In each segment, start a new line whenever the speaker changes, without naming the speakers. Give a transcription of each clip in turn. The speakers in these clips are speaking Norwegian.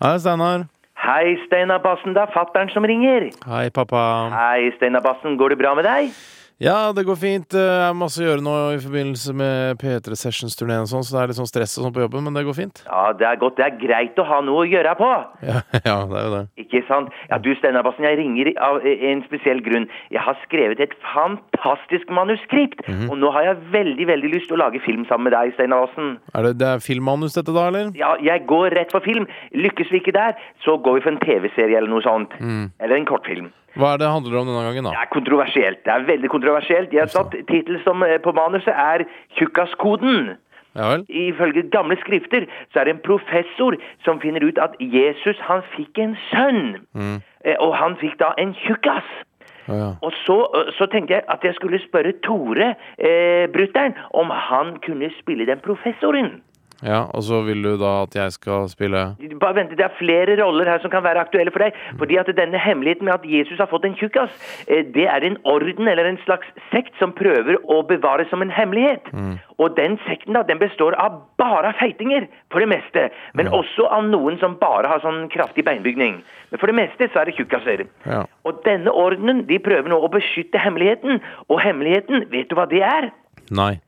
Hei, Steinar.
Hei, Steinar Bassen, det er fattern som ringer.
Hei, pappa.
Hei, Steinar Bassen, går det bra med deg?
Ja, det går fint. Det er masse å gjøre nå i forbindelse med P3 Sessions-turneen og sånn, så det er litt sånn stress og sånn på jobben, men det går fint.
Ja, det er godt. Det er greit å ha noe å gjøre på.
Ja, ja det er jo det.
Ikke sant? Ja, du, Steinar Bassen, jeg ringer av eh, en spesiell grunn. Jeg har skrevet et fantastisk manuskript, og nå har jeg veldig, veldig lyst til å lage film sammen med deg, Steinar Bassen.
Er det, det er filmmanus dette, da, eller?
Ja, jeg går rett for film. Lykkes vi ikke der, så går vi for en TV-serie eller noe sånt. Eller en kortfilm.
Hva er det det handler om denne gangen,
Det
da?
er kontroversielt. Det er veldig kontroversielt. Jeg har satt titel som eh, på manuset er Tjukkaskoden.
Ja vel?
Ifølge gamle skrifter så er det en professor som finner ut at Jesus han fikk en sønn. Eh, Og han fikk da en tjukkas.
Å ja.
Og så, eh, så tenkte jeg at jeg skulle spørre Tore, eh, brutter'n, om han kunne spille den professoren.
ja. Og så vil du da at jeg skal spille
Bare vent, Det er flere roller her som kan være aktuelle for deg. Fordi at denne hemmeligheten med at Jesus har fått en tjukkas, eh, det er en orden eller en slags sekt som prøver å bevare som en hemmelighet. Og den sekten da, den består av bare feitinger, for det meste. Men også av noen som bare har sånn kraftig beinbygning. Men for det meste så er det tjukkaser.
Ja.
Og denne ordenen de prøver nå å beskytte hemmeligheten. Og hemmeligheten, vet du hva det er?
Nei.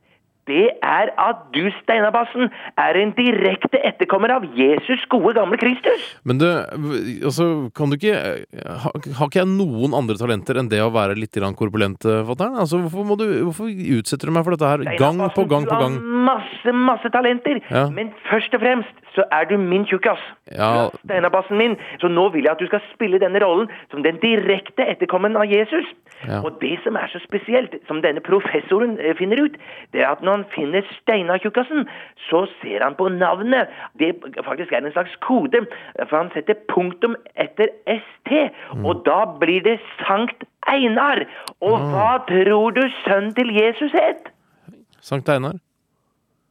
det er at du, Steinar Bassen, er en direkte etterkommer av Jesus gode gamle Kristus.
Men du, v- altså, kan du ikke ha- Har ikke jeg noen andre talenter enn det å være litt grann korpulent, eh, fatter'n? Altså, hvorfor, må du, hvorfor utsetter du meg for dette her
Steinar
gang på
Bassen,
gang på gang?
altså, Du har masse, masse talenter,
Ja.
men først og fremst så er du min tjukkas.
Ja.
Du er Steinar Bassen min. Så nå vil jeg at du skal spille denne rollen som den direkte etterkommen av Jesus.
Ja.
Og det som er så spesielt, som denne professoren eh, finner ut, det er at når han finner Steinar tjukkasen, så ser han på navnet. Det faktisk er en slags kode, for han setter punktum etter ST,
Mm.
og da blir det Sankt Einar. Og
Ah.
hva tror du sønnen til Jesus het?
Sankt Einar?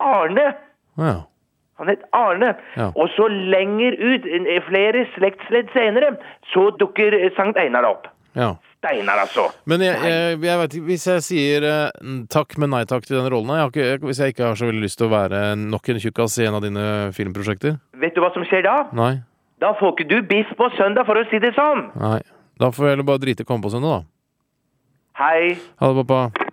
Arne.
Å Ja.
Han het Arne.
Ja.
Og så lenger ut, eh, flere slektsledd senere, så dukker eh, Sankt Einar opp.
ja.
Steinar, altså.
Men jeg, jeg, jeg vet ikke, hvis jeg sier eh, takk, men nei takk til den rollen jeg har ikke, jeg, Hvis jeg ikke har så veldig lyst til å være nok en tjukkas i en av dine filmprosjekter
Vet du hva som skjer da?
Nei.
Da får ikke du biff på søndag, for å si det sånn.
nei Da får jeg heller bare drite i å komme på søndag, da.
Hei.
Ha det, pappa.